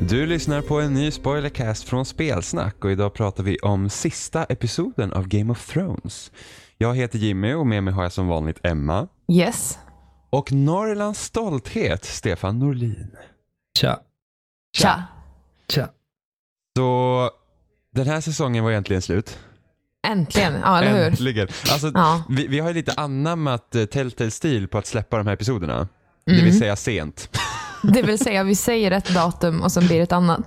Du lyssnar på en ny spoilercast från Spelsnack och idag pratar vi om sista episoden av Game of Thrones. Jag heter Jimmy och med mig har jag som vanligt Emma Yes. och Norrlands stolthet Stefan Norlin. Tja, Tja. tja. Så den här säsongen var egentligen slut. Äntligen. Ja, eller hur? Äntligen. Alltså, Ja. vi, vi har ju lite anammat eh, Telltale-stil på att släppa de här episoderna. Mm. Det vill säga sent. Det vill säga, vi säger ett datum och sen blir det ett annat.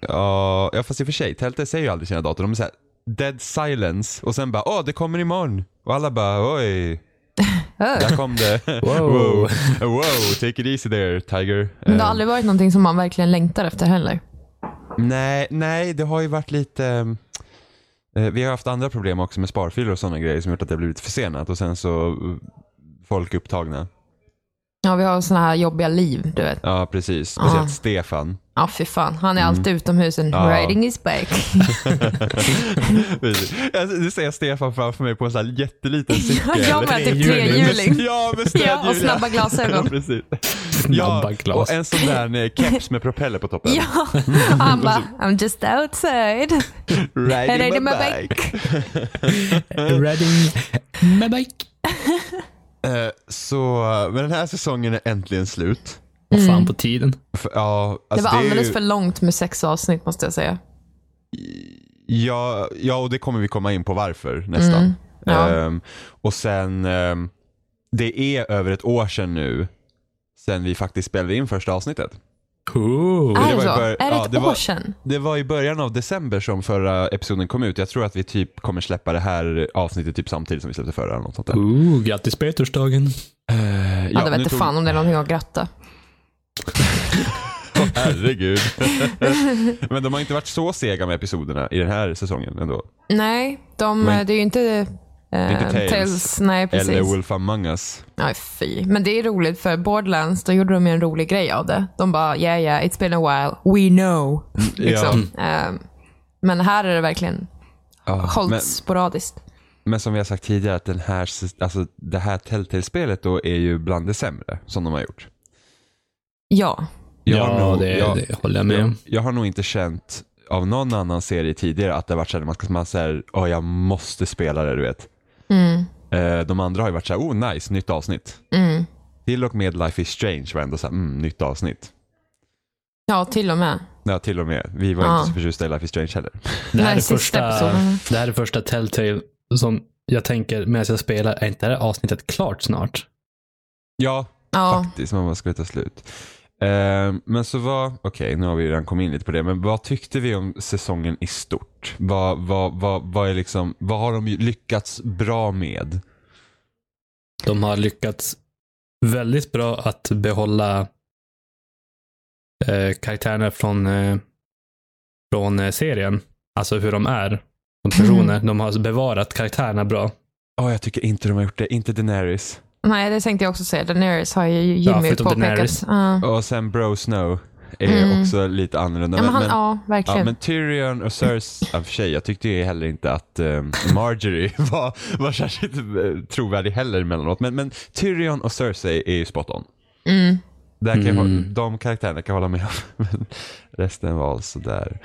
Ja, ja, fast i och för sig, Telltale säger ju aldrig sina datum. De är såhär, dead silence. Och sen bara, åh, det kommer imorgon. Och alla bara, oj, Öh. där kom det. Wow. wow. Wow, take it easy there, Tiger. Men det Eh, har aldrig varit någonting som man verkligen längtar efter heller. nej, nej, det har ju varit lite... eh, vi har haft andra problem också med sparfiler och sådana grejer som gjort att det har blivit försenat och sen så eh, folk upptagna. Ja, vi har sådana här jobbiga liv, du vet. Ja, precis. Speciellt Ah. Stefan. Ja, fy fan. Han är alltid utomhus and Mm. Ja. riding his bike. Precis. Alltså, Nu ser jag Stefan framför mig på en sån här jätteliten cykel. Jag med typ trehjuling. Ja, med Ja, och stödhjul. snabba Ja, glasögon. precis. Snabba glas. och en sån där eh, keps med propeller på toppen. Ja, och han bara, I'm just outside. Riding, Riding my my bike. Reading my bike. Eh, så, men den här säsongen är äntligen slut. Vad fan på tiden. För, ja, Det alltså var är alldeles ju- för långt med sex avsnitt, måste jag säga. Ja, ja, och det kommer vi komma in på varför nästan. Mm, ja. Ehm, och sen, ehm, det är över ett år sedan nu, sen vi faktiskt spelade in första avsnittet. Ooh. det Är Ah. var det ju så? bör- Är det ja, ett det var- år sedan? Det var i början av december som förra episoden kom ut. Jag tror att vi typ kommer släppa det här avsnittet typ samtidigt som vi släppte förra. Eller något sånt där. Ooh, grattis på ettårsdagen. Eh, Ja, det nu vet inte tog- fan om det är någonting att gratta. Åh, herregud. Men de har inte varit så sega med episoderna i den här säsongen ändå. Nej, de, Men- det är ju inte... Eh, Inte Tales. Nej, Eller precis. Wolf Among Us. Nej, fy. Men det är roligt för Borderlands, då gjorde de ju en rolig grej av det. De bara, yeah yeah, it's been a while, we know. Liksom. Ehm, men här är det verkligen Ja, hållt men, sporadiskt. men som vi har sagt tidigare, att den här, s- alltså, det här Telltale-spelet då är ju bland det sämre som de har gjort. Ja. Jag har Ja, nog- det, jag- det håller jag med Jag, om. jag har nog inte känt av någon annan serie tidigare att det har varit så här, man ska man säger, åh jag måste spela det, du vet. Mm. Eh, de andra har ju varit så här, oh nice, nytt avsnitt. Mm. Till och med Life is Strange var ändå så här, mm, nytt avsnitt. Ja, till och med. Ja, till och med. Vi var Ja. inte så förtjusta i Life is Strange heller. Det här, Nej, är sista första, episoden. det här är första Telltale som jag tänker medan jag spelar, är inte det här avsnittet klart snart? Ja, Ja. faktiskt. Man bara, ska det ta slut? Eh, men så vad, okej nu har vi redan kommit in lite på det, men vad tyckte vi om säsongen i stort? Vad, vad, vad, vad, är liksom, vad har de lyckats bra med? De har lyckats väldigt bra att behålla eh, karaktärerna från, eh, från eh, serien. Alltså hur de är som personer. Mm. De har bevarat karaktärerna bra. Ja, jag tycker inte de har gjort det. Inte Daenerys. Nej, det tänkte jag också säga. Daenerys har ju Ja, Jimmy förutom påpekat. Daenerys. Ja. Och sen Bro Snow är Mm. också lite annorlunda. Ja, men han, men, ja, ja, verkligen. men Tyrion och Cersei, i och för sig, jag tyckte ju heller inte att eh, Marjorie var, var särskilt eh, trovärdig heller emellanåt. Men, men Tyrion och Cersei är ju spot on. Mm. Där kan jag, hå- Mm. de karaktärerna kan jag hålla med om. Men resten var alltså där.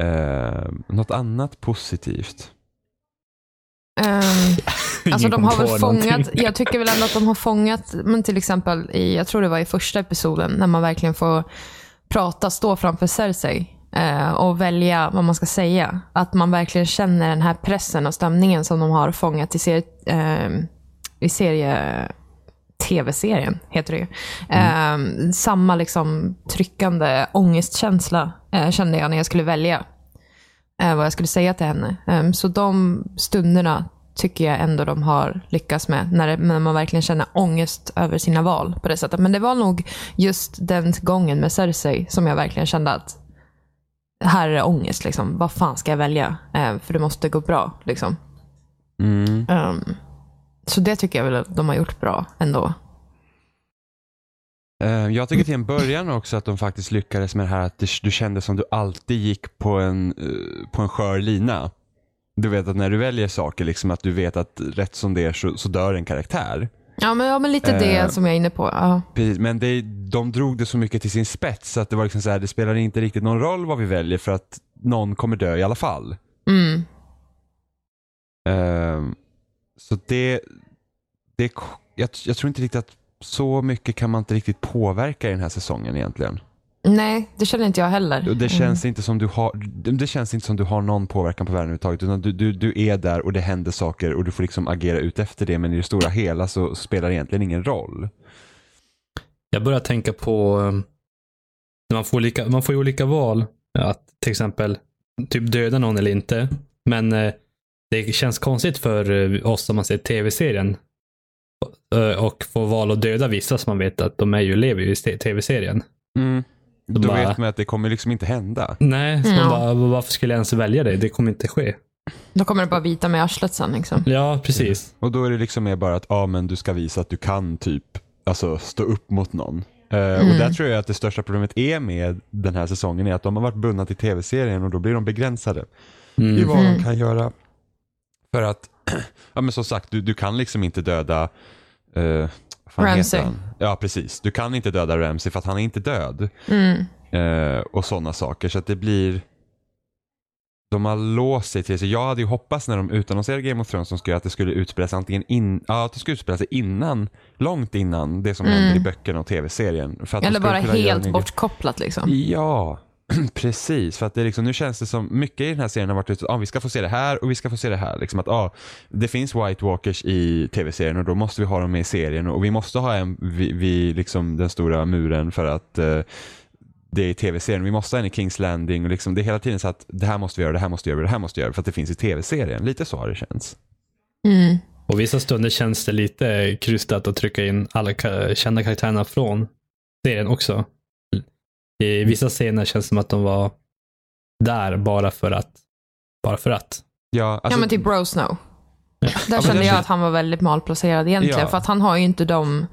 Eh, något annat positivt? Ehm, Alltså Ingen de kom har på väl någonting. fångat, jag tycker väl ändå att de har fångat, men till exempel i, jag tror det var i första episoden, när man verkligen får prata, stå framför Cersei eh, och välja vad man ska säga. Att man verkligen känner den här pressen och stämningen som de har fångat i, serie, eh, i serie, tv-serien, heter det ju. Mm. Eh, samma liksom tryckande ångestkänsla eh, kände jag när jag skulle välja eh, vad jag skulle säga till henne. Ehm, så de stunderna tycker jag ändå de har lyckats med, när, det, när man verkligen känner ångest över sina val på det sättet. Men det var nog just den gången med Cersei som jag verkligen kände att här är ångest. Liksom. Vad fan ska jag välja? Ehm, för det måste gå bra. Liksom. Mm. Ehm, så det tycker jag väl att de har gjort bra ändå. Eh, Jag tycker till en början också att de faktiskt lyckades med det här att det- du kände som du alltid gick på en, eh, på en skör lina. Du vet att när du väljer saker, liksom att du vet att rätt som det är så, så dör en karaktär. Ja, men, ja, men lite det Ehm. som jag är inne på. Ja. Precis, Men det, de drog det så mycket till sin spets så att det var liksom så här, det spelar inte riktigt någon roll vad vi väljer för att någon kommer dö i alla fall. Mm. Ehm, så det, det jag, jag tror inte riktigt att så mycket kan man inte riktigt påverka i den här säsongen egentligen. Nej, det känner inte jag heller. Och Det känns, inte som du har, det det känns inte som du har någon påverkan på världen överhuvudtaget. Utan du, du, du är där och det händer saker och du får liksom agera ut efter det. Men i det stora hela så spelar det egentligen ingen roll. Jag börjar tänka på eh, när man får, olika, man får ju olika val. Att till exempel typ döda någon eller inte. Men eh, det känns konstigt för eh, oss om man ser tv-serien. eh, Och få val att döda vissa som man vet att de är ju, lever ju i te- tv-serien. Då bara- vet man att det kommer liksom inte hända. Nej, så man Ja. bara, varför skulle jag ens välja dig? Det kommer inte ske. Mm. Då kommer det bara bita mig i arslet sen. Liksom. Ja, precis. Och då är det liksom mer bara att ja, men du ska visa att du kan typ alltså, stå upp mot någon. Eh, Och där tror jag att det största problemet är med den här säsongen är att de har varit bundna till tv-serien och då blir de begränsade Mm. i vad de kan göra. För att, ja men som sagt, du, du kan liksom inte döda eh, vad fan heter Ramsey. han? Ja precis, du kan inte döda Ramsey för att han är inte död. Mm. Eh, och sådana saker. Så att det blir... De har låst sig till sig. Jag hade ju hoppats när de utannonserade Game of Thrones som skulle, att det skulle utspelas antingen in, ja, att det skulle utspela sig innan, långt innan det som händer i böckerna och tv-serien. För att de Mm. Eller skulle bara kunna göra en helt egen- bortkopplat. Mm. Liksom. Ja, precis. För att det är liksom, nu känns det som mycket i den här serien har varit att ah, vi ska få se det här och vi ska få se det här. Liksom att, ah, det finns White Walkers i tv-serien och då måste vi ha dem med i serien och vi måste ha en vid, vid liksom den stora muren för att eh, det är i tv-serien. Vi måste ha en i Kings Landing och liksom, det är hela tiden så att det här måste vi göra, det här måste vi göra, det här måste vi göra för att det finns i tv-serien. Lite så har det känts. Mm. Och vissa stunder känns det lite krystat att trycka in alla ka- kända karaktärerna från serien också. I vissa scener känns det som att de var där bara för att. Bara för att. Ja, ja, alltså, men typ Rose Snow. Där men kände det- jag att han var väldigt malplacerad egentligen. Ja. För att han har ju inte de...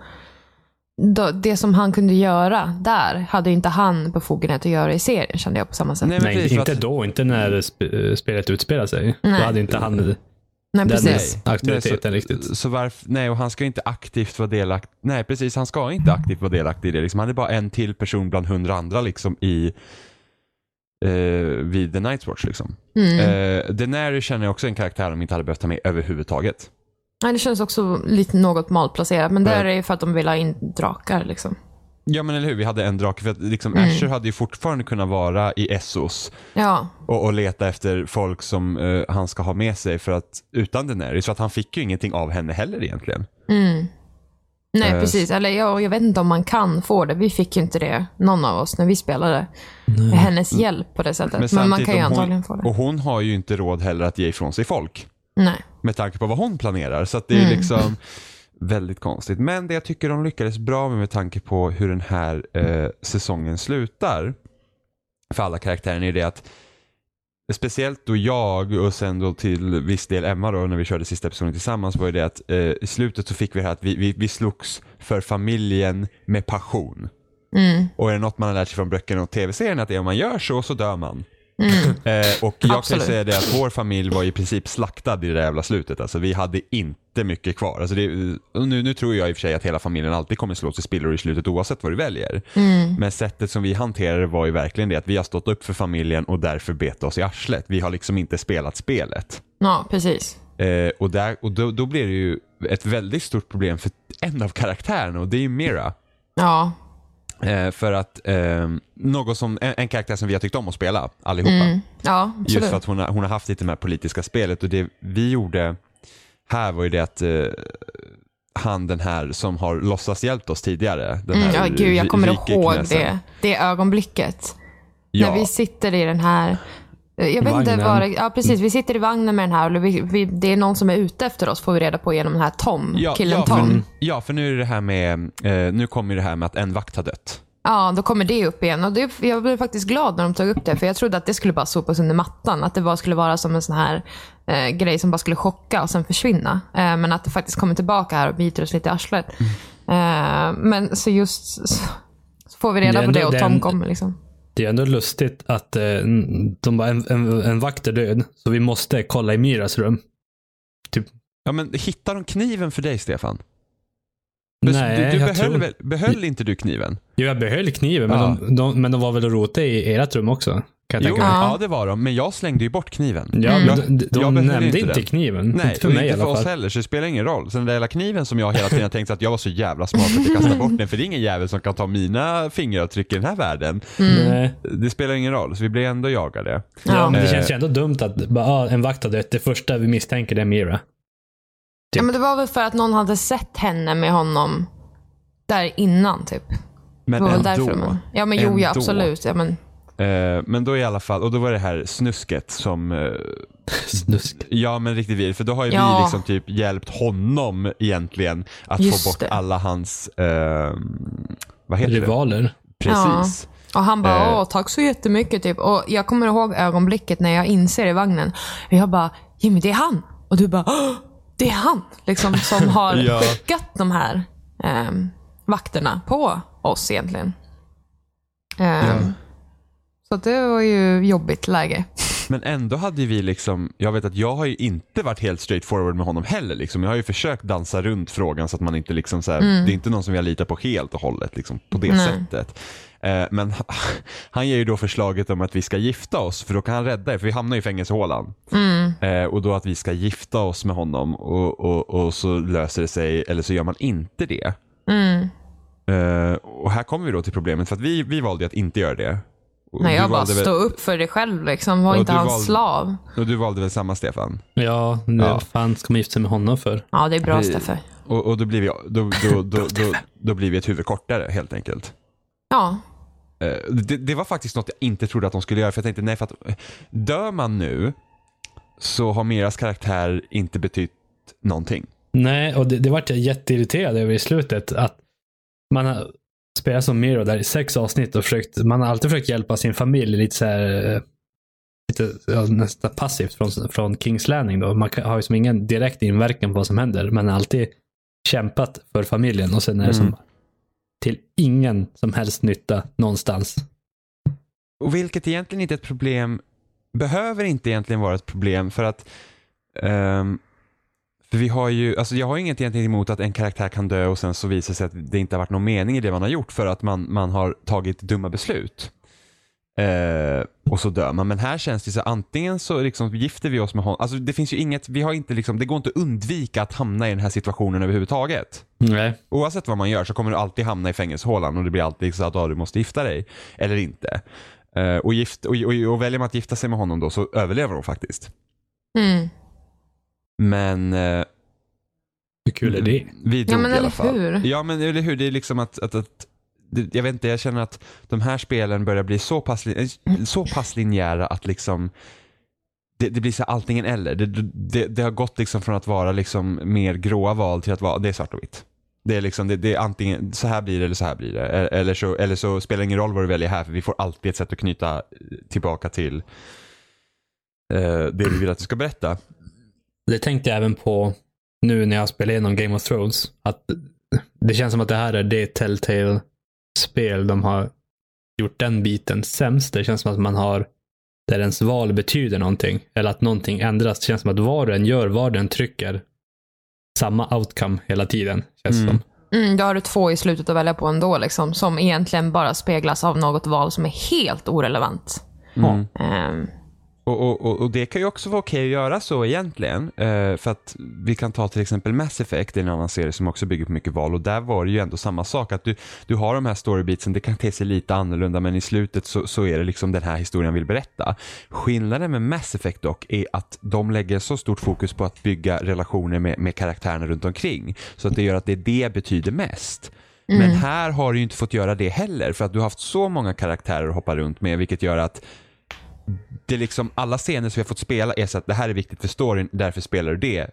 då- Det som han kunde göra där hade ju inte han befogenhet att göra i serien kände jag på samma sätt. Nej, Nej, men Nej, precis, för inte att- då. Inte när sp- eh, spelet utspelar sig. Nej. Då hade inte han den precis. aktiviteten Nej, så, riktigt. Så varför, nej, och han ska inte aktivt vara delaktig. Nej, precis. Han ska inte aktivt vara delaktig i det. Liksom. Han är bara en till person bland hundra andra liksom, i, eh, vid The Night's Watch. Liksom. Mm. Eh, Daenerys känner jag också är en karaktär de inte hade behövt ta med överhuvudtaget. Nej, det känns också lite något malplacerat. Men där Ja. är det ju för att de vill ha in drakar. Liksom. Ja men eller hur, vi hade en drake. För att, liksom, Asher hade ju fortfarande kunnat vara i Essos Ja, och, och leta efter folk som eh, han ska ha med sig för att, utan Daenerys. För att han fick ju ingenting av henne heller egentligen. Mm. nej Eh, precis. Eller jag, jag vet inte om man kan få det. Vi fick ju inte det, någon av oss, när vi spelade. Hennes hjälp på det sättet. Men, man Mm. samtidigt kan ju om hon- antagligen få det. Och hon har ju inte råd heller att ge ifrån sig folk. Nej. med tanke på vad hon planerar. Så att det är liksom väldigt konstigt. Men det jag tycker de lyckades bra med med tanke på hur den här eh, säsongen slutar för alla karaktärer är det att speciellt då jag och sen då till viss del Emma då när vi körde sista episoden tillsammans var ju det att eh, i slutet så fick vi det här att vi, vi, vi slogs för familjen med passion. Mm. Och är det något man har lärt sig från böckerna och tv-serien att det är om man gör så, så dör man. Eh, och jag kan Absolut. ju säga det att vår familj var i princip slaktad i det där jävla slutet. Alltså, vi hade inte mycket kvar. Alltså, det, och nu, nu tror jag i och för sig att hela familjen alltid kommer slå till spillror i slutet oavsett vad du väljer. Men sättet som vi hanterade det var ju verkligen det att vi har stått upp för familjen och därför bet oss i arslet. Vi har liksom inte spelat spelet. Ja, precis. Eh, och där, och då, då blir det ju ett väldigt stort problem för en av karaktärerna och det är ju Mira. Ja, Eh, för att eh, något som, en, en karaktär som vi har tyckt om att spela allihopa. ja Just Mm, absolut. för att hon har, hon har haft lite med politiska spelet och det vi gjorde här var ju det att eh, han den här som har låtsas hjälpt oss tidigare. Den Mm, här ja, gud, jag ri- kommer rike ihåg knäsen. det. Det ögonblicket. Ja, Mm. När vi sitter i den här... Jag vet inte Vagnen. vad det, Ja, precis. Vi sitter i vagnen med den här och vi, vi, det är någon som är ute efter oss, får vi reda på genom den här Tom. ja, killen ja, Tom. För, ja, för nu är det här med, eh, nu kommer ju det här med att en vakt har dött. Ja, då kommer det upp igen. Och det, jag blev faktiskt glad när de tog upp det, för jag trodde att det skulle bara sopas under mattan. Att det bara skulle vara som en sån här eh, grej som bara skulle chocka och sen försvinna. Eh, men att det faktiskt kommer tillbaka här och biter oss lite i arslet. Eh, men så just så, så får vi reda Det är på det ändå och Tom den- kommer. Liksom. Det är ändå lustigt att eh, de bara, en, en, en vakt är död, så vi måste kolla i Miras rum. Ja men hittar de kniven för dig Stefan? Nej, du, du behöll, jag tror- väl- behöll inte du kniven? Jo, jag behöll kniven, men, Ja. de, de, men de var väl och rotade i ert rum också? Kan jag Jo, tänka mig. ja. Ja. det var de. Men jag slängde ju bort kniven. Ja, Mm. men de, de jag behöll nämnde inte inte, den. kniven. Nej, inte för och mig inte i för alla oss fall. heller, så det spelar ingen roll. Sen den där jävla kniven som jag hela tiden tänkte att jag var så jävla smart att jag kastade bort den, för det är ingen jävel som kan ta mina fingeravtryck i den här världen. Nej. Det spelar ingen roll, så vi blir ändå jagade. eh, Ja, Ja. Eh. men det känns ju ändå dumt att bara, ah, en vakt har dött. Det första vi misstänker det är Mira. Ja, men det var väl för att någon hade sett henne med honom där innan typ. Det Men var väl ändå. därför. Man... Ja, men jo, ja, Ändå. absolut. Ja, men... Eh, men då i alla fall, och då var det här snusket som, eh, Snusk. ja men riktigt vidrigt, för då har ju Ja. vi liksom typ hjälpt honom egentligen att Just få bort det. alla hans, eh, vad heter det? Rivaler. Precis. Och han bara, Eh. åh, tack så jättemycket. Typ. Och jag kommer ihåg ögonblicket när jag inser i vagnen. Jag bara, Jimmy, det är han. Och du bara, "Åh, det är han. Liksom, som har Ja. skickat de här ehm, vakterna på oss egentligen. Ehm, Så att det var ju jobbigt läge. Men ändå hade ju vi liksom, jag vet att jag har ju inte varit helt straight forward med honom heller. Liksom. Jag har ju försökt dansa runt frågan så att man inte liksom så här, det är inte någon som jag litar på helt och hållet liksom, på det Mm. Nej. sättet. Eh, men han ger ju då förslaget om att vi ska gifta oss för då kan han rädda er, för vi hamnar ju i fängelsehålan. Mm. Eh, och då att vi ska gifta oss med honom och, och, och så löser det sig, eller så gör man inte det. Mm. Eh, och här kommer vi då till problemet, för att vi, vi valde ju att inte göra det. Och När du jag bara, valde väl- stå upp för dig själv. Liksom. Var Ja, inte du hans valde- slav. Och du valde väl samma Stefan? Ja, Ja. vad fan ska man gifta sig med honom för? Ja, det är bra, Vi- Steffe. Och, och då, blir vi, då, då, då, då, då blir vi ett huvud kortare helt enkelt. Ja. Eh, Det, det var faktiskt något jag inte trodde att de skulle göra för jag tänkte nej för att eh, dör man nu så har Miras karaktär inte betytt någonting. Nej, och det, det vart jag jätteirriterad över i slutet. Att man har spelat som Miro där i sex avsnitt och försökt, man har alltid försökt hjälpa sin familj lite så här eh, lite, ja, nästan passivt från, från Kings Landing. Då. Man kan, har ju som ingen direkt inverkan på vad som händer, men har alltid kämpat för familjen och sen är det som Mm. till ingen som helst nytta någonstans. Och vilket egentligen inte är ett problem, behöver inte egentligen vara ett problem för att ehm, för vi har ju, alltså jag har inget egentligen emot att en karaktär kan dö och sen så visar det sig att det inte har varit någon mening i det man har gjort för att man, man har tagit dumma beslut. Eh, och så dör man. Men här känns det så antingen så liksom gifter vi oss med honom. Alltså det finns ju inget, vi har inte liksom, det går inte att undvika att hamna i den här situationen överhuvudtaget. Nej. Oavsett vad man gör så kommer du alltid hamna i fängelsehålan och det blir alltid så att ah, du måste gifta dig eller inte. Eh, och, gift, och, och, och väljer man att gifta sig med honom då så överlever hon faktiskt. Mm. Men eh, Hur kul är det? Mm. vi dog men i alla eller fall. hur? Ja men eller hur, det är liksom att, att, att det- jag vet inte, jag känner att de här spelen börjar bli så pass, lin- eh, så pass linjära att liksom det, det blir så här antingen eller. Det, det, det har gått liksom från att vara liksom mer gråa val till att vara, det är svart och vitt. Det är liksom, det, det är antingen så här blir det eller så här blir det. E- Eller så, eller så spelar det ingen roll vad du väljer här för vi får alltid ett sätt att knyta tillbaka till eh, det vi vill att du ska berätta. Det tänkte jag även på nu när jag spelar igenom Game of Thrones. Att det känns som att det här är det Telltale-spel de har gjort den biten sämst. Det känns som att man har där ens val betyder någonting. Eller att någonting ändras. Det känns som att vad den gör, vad den trycker, samma outcome hela tiden. Känns Mm. som. Mm, då har du två i slutet att välja på ändå, liksom, som egentligen bara speglas av något val som är helt orelevant. Mm. Ehm, Och, och, och, och det kan ju också vara okej att göra så egentligen. Eh, för att vi kan ta till exempel Mass Effect, det är en annan serie som också bygger på mycket val och där var det ju ändå samma sak. Att du, du har de här storybeatsen, det kan te sig lite annorlunda men i slutet så, så är det liksom den här historien vill berätta. Skillnaden med Mass Effect dock är att de lägger så stort fokus på att bygga relationer med, med karaktärerna runt omkring. Så att det gör att det är det betyder mest. Men här har du ju inte fått göra det heller för att du har haft så många karaktärer att hoppa runt med vilket gör att det är liksom alla scener som vi har fått spela är så att det här är viktigt för storyn, därför spelar du det.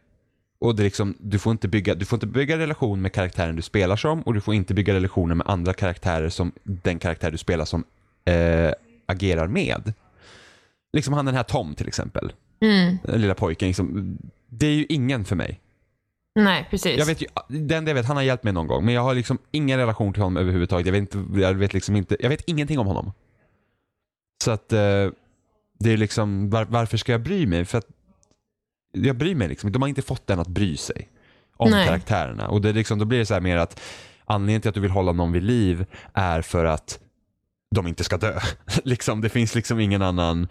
Och det är liksom, du får inte bygga, du får inte bygga relation med karaktären du spelar som och du får inte bygga relationer med andra karaktärer som den karaktär du spelar som eh, agerar med. Liksom han den här Tom till exempel, mm, den lilla pojken. Liksom, det är ju ingen för mig. nej, precis. Jag vet ju, det enda jag vet, han har hjälpt mig någon gång men jag har liksom ingen relation till honom överhuvudtaget. Jag vet, inte, jag vet liksom inte, jag vet ingenting om honom. Så att eh, det är liksom, var, varför ska jag bry mig? För att jag bryr mig liksom De har inte fått den att bry sig. om Nej. karaktärerna. Och det är liksom, då blir det så här mer att anledningen till att du vill hålla någon vid liv är för att de inte ska dö. liksom, det finns liksom ingen annan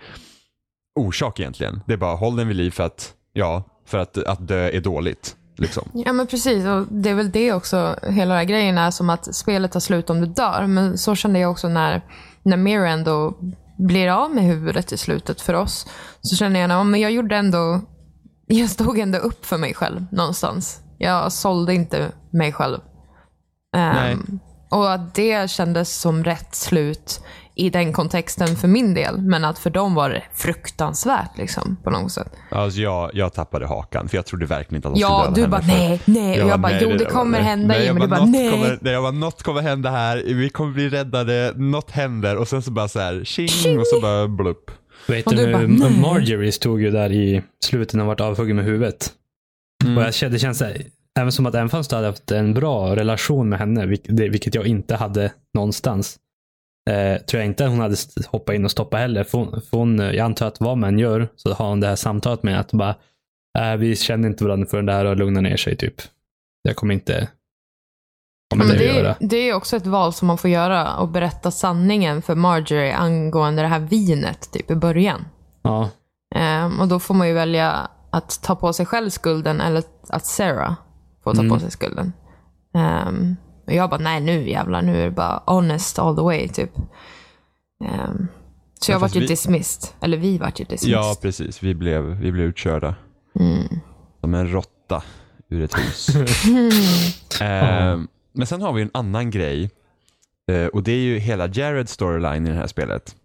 orsak egentligen. Det är bara håll den vid liv för att, ja, för att, att dö är dåligt. Liksom. Ja men precis, och det är väl det också hela den här grejen är som att spelet tar slut om du dör. Men så kände jag också när, när Mira ändå blir av med huvudet i slutet för oss. Så kände jag, ja, men jag gjorde ändå, jag stod ändå upp för mig själv någonstans. Jag sålde inte mig själv. Ehm, Nej. och att det kändes som rätt slut i den kontexten för min del. Men att för dem var det fruktansvärt liksom på något sätt. Alltså jag, jag tappade hakan för jag trodde verkligen inte att de skulle Ja, döda du henne bara för- nej, nej. Och jag bara, nej, jo det kommer nej. hända Nej, jag Jimmy. Du bara "Något nej. Kommer, nej, jag bara, något kommer hända här, vi kommer bli räddade, något händer och sen så bara så här, tjing, och så bara blupp. Vet Och du, du bara, nu, nej. Marjorie stod ju där i slutet när hon vart avhuggen med huvudet. Mm. Och jag kände, det känns så här, även som att även fast jag hade haft en bra relation med henne, vilk- det- vilket jag inte hade någonstans, eh, tror jag inte hon hade st- hoppat in och stoppat heller. För hon, för hon, eh, jag antar att vad man gör så har hon det här samtalet med att bara, eh, vi känner inte varandra förrän det här har lugnat ner sig typ. Jag kommer inte ha Ja, men med det att det, göra. det är också ett val som man får göra och berätta sanningen för Marjorie angående det här vinet typ i början. Ja. Ehm, och då får man ju välja att ta på sig själv skulden eller att Sarah får ta på Mm. sig skulden. Ehm, och jag bara, nej nu jävlar, nu är det bara honest all the way typ. Ehm, så Ja, fast jag vart ju vi- dismissed. Eller vi vart ju dismissed. Mm. Ja, precis. Vi blev, vi blev utkörda. Som en råtta ur ett hus. Ehm, men sen har vi en annan grej. eh, och det är ju hela Jareds storyline i det här spelet.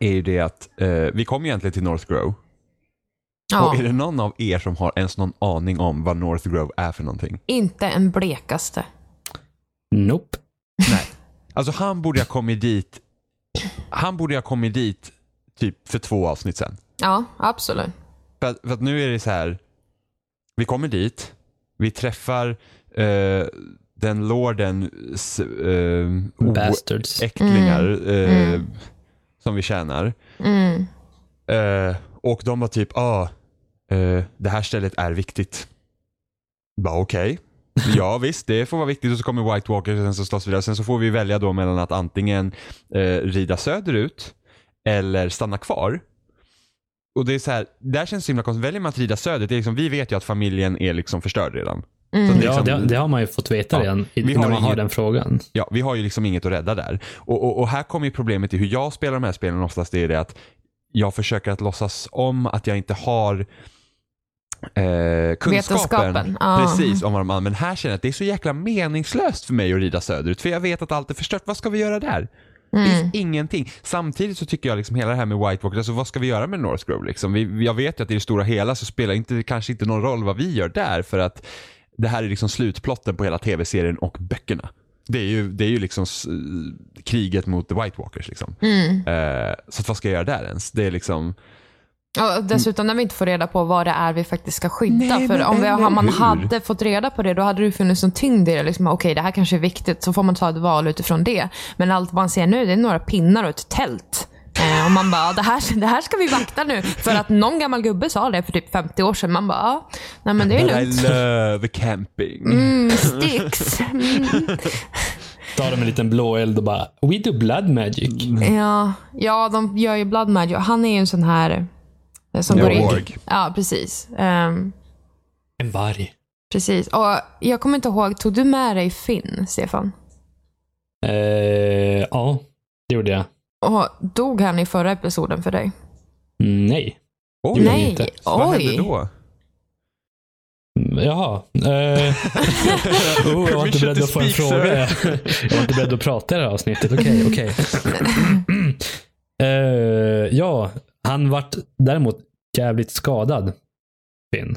Är ju det att eh, vi kom egentligen till North Grove. Ja, Och är det någon av er som har ens någon aning om vad North Grove är för någonting? Inte en blekaste. Nope. Alltså han borde ha kommit dit. Han borde ha kommit dit typ för två avsnitt sen. Ja, absolut. För att, för att nu är det så här. Vi kommer dit. Vi träffar eh, den lorden s- eh, Bastards. oäktlingar eh, som vi tjänar. Mm. Eh, och de var typ, ah, eh, det här stället är viktigt. Bara okej. Ja visst, det får vara viktigt och så kommer White Walkers och sen så slåss vi där. Sen så får vi välja då mellan att antingen eh, rida söderut eller stanna kvar. Och det är så här, där känns det så himla konstigt. Väljer man att rida söderut, det är liksom, vi vet ju att familjen är liksom förstörd redan. Mm. Så att Ja, liksom- det, det har man ju fått veta Ja. redan i- Vi när har man har inget- den frågan. Ja, vi har ju liksom inget att rädda där. Och, och, och här kommer ju problemet i hur jag spelar de här spelen oftast, det är det att jag försöker att låtsas om att jag inte har eh, kunskapen. Vetenskapen, ja. Precis, om vad de använder. Men här känner jag att det är så jäkla meningslöst för mig att rida söderut, för jag vet att allt är förstört. Vad ska vi göra där? Det Mm. finns ingenting. Samtidigt så tycker jag liksom hela det här med White Walkers, alltså vad ska vi göra med North Grove? Liksom? Vi, vi- jag vet ju att i det stora hela så spelar inte, det kanske inte någon roll vad vi gör där för att det här är liksom slutplotten på hela tv-serien och böckerna. Det är ju, det är ju liksom s- kriget mot The White Walkers. Liksom. Mm. Eh, så att vad ska jag göra där ens? Det är liksom... Ja, och dessutom när vi inte får reda på vad det är vi faktiskt ska skydda. Nej, för men om vi, eller om man hur? hade fått reda på det, då hade det ju funnits en tyngd i det. Liksom, Okej, det här kanske är viktigt. Så får man ta ett val utifrån det. Men allt man ser nu, det är några pinnar och ett tält. Eh, och man bara, "Ja, det här, det här ska vi vakta nu. För att någon gammal gubbe sa det för typ 50 år sedan. Man bara, "Ja, nej men det But är I lugnt. love camping. Mm, sticks. Tar de en liten blå eld och bara, we do blood magic. Ja, ja, de gör ju Blood Magic. Han är ju en sån här... eh, Som Ja, går in. org. Ja, precis. Ehm, En varg. Precis. Och jag kommer inte ihåg, tog du med dig Finn, Stefan? Eh, ja, det gjorde jag. Och dog han i förra episoden för dig? Nej. Oj, gjorde Nej, inte. oj. vad hände då? Mm, Jaha. Eh, oh, jag var inte Permission beredd to att få en speak, fråga. jag var inte beredd att prata i det här avsnittet. Okej, okej. eh, ja, han vart däremot jävligt skadad. Finn.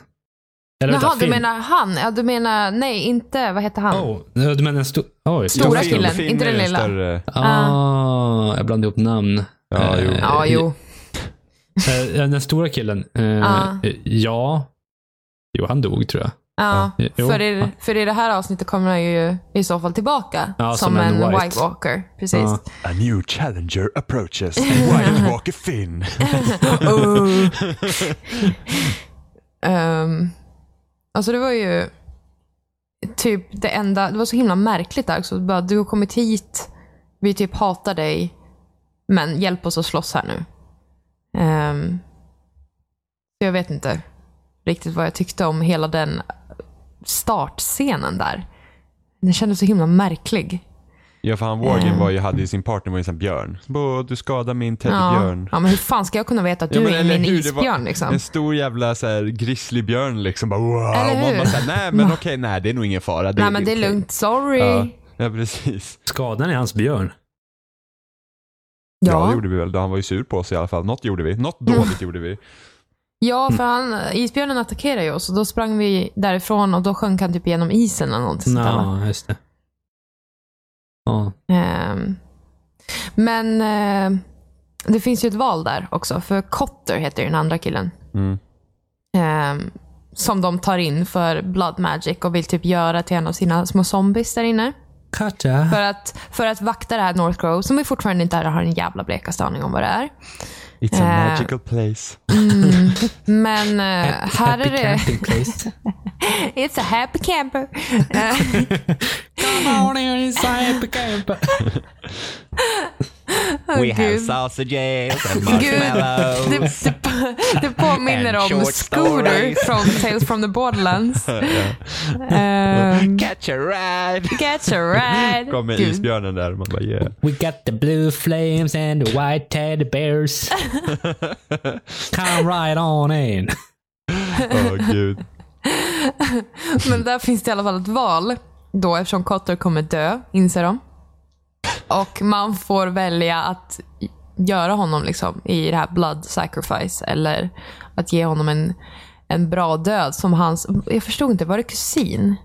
Eller Jaha, vänta, du Finn. menar han? Ja, du menar, nej, inte, vad heter han? Oh, eh, du menar en stor... Oj. Stora Finn- killen, Finn eh, inte är den lilla. Större. Ah, jag blandade ihop namn. Ja, jo. Eh, Ja, jo. Eh, den stora killen. Eh, Ah. eh, Ja. Jo, han dog tror jag. Ja, Ja, jo. för, i, för i det här avsnittet kommer han ju i så fall tillbaka Ja, som, som en en white. white. walker. Precis. Ja. A new challenger approaches. White Walker Finn. Oh. Ehm, alltså det var ju typ det enda, det var så himla märkligt där också. Bara, du har kommit hit, vi typ hatar dig, men hjälp oss att slåss här nu. Ehm, så jag vet inte riktigt vad jag tyckte om hela den startscenen där. Den kändes så himla märklig. Ja, för han Mm. Worgen var ju, hade ju sin partner var ju en sån här björn. Så bara, "Åh, du skadar min Ja. teddybjörn. ja, men hur fan ska jag kunna veta att du men är eller min hur, det var isbjörn liksom? En stor jävla så här, grizzlybjörn liksom. Bara, wow. Eller Man hur? bara så här, nej men okej, nej det är nog ingen fara. Nej men det är din lugnt, sorry. fel." Ja, Ja, ja precis. Skadan är hans björn. Ja. det gjorde vi väl. Han var ju sur på oss i alla fall. Något gjorde vi. Något dåligt gjorde vi. Ja, för han, isbjörnen attackerade ju oss och då sprang vi därifrån och då sjönk han typ genom isen eller någonting sånt där, va? Ja, just det. Ja, Ehm, Men eh, det finns ju ett val där också, för Cotter heter ju den andra killen. Mm. Ehm, Som de tar in för blood magic och vill typ göra till en av sina små zombies där inne. Katja. För att, för att vakta det här North Grove, som vi fortfarande inte har en jävla blekaste aning om vad det är. It's a Eh. magical place. Men eh, här är det... Happy camping place. It's a happy camper. Come on in, it's a happy camper. Åh, Gud. sausages and Gud, det, det, det påminner And om short Scooter stories. från Tales from the Borderlands. Ehm, Catch a ride. Catch a ride. Kommer Gud. isbjörnen där. Man bara yeah. We got the blue flames and the white teddy bears. Come right on in. Åh gud. Men där finns det i alla fall ett val då eftersom Cotter kommer dö, inser de. Och man får välja att göra honom liksom i det här blood sacrifice eller att ge honom en, en bra död som hans, jag förstod inte, var det kusin?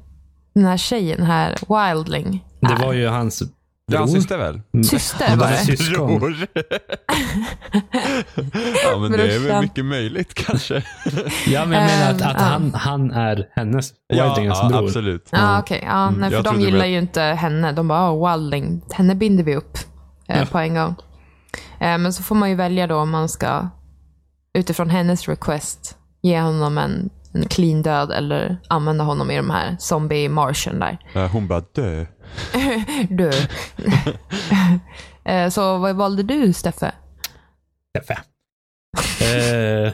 Den här tjejen, den här Wildling. Äh, Det var ju hans Det är hans bror. syster väl? Syster var det det. syskon. Bror. ja men det är väl Brorsan. mycket möjligt kanske. Ja, men jag menar att, Ehm, att ja. han, han är hennes, ja, Wildingens ja bror. absolut. Ja, okej. Ja, nej, för jag de trodde gillar väl- ju inte henne. De bara, oh, Walling, henne binder vi upp eh, på en gång. Eh, men så får man ju välja då om man ska, utifrån hennes request, ge honom en, en clean död eller använda honom i de här zombie marschen där. Ja, Hon bara dö. Du. eh, så vad valde du, Steffe? Steffe. Eh,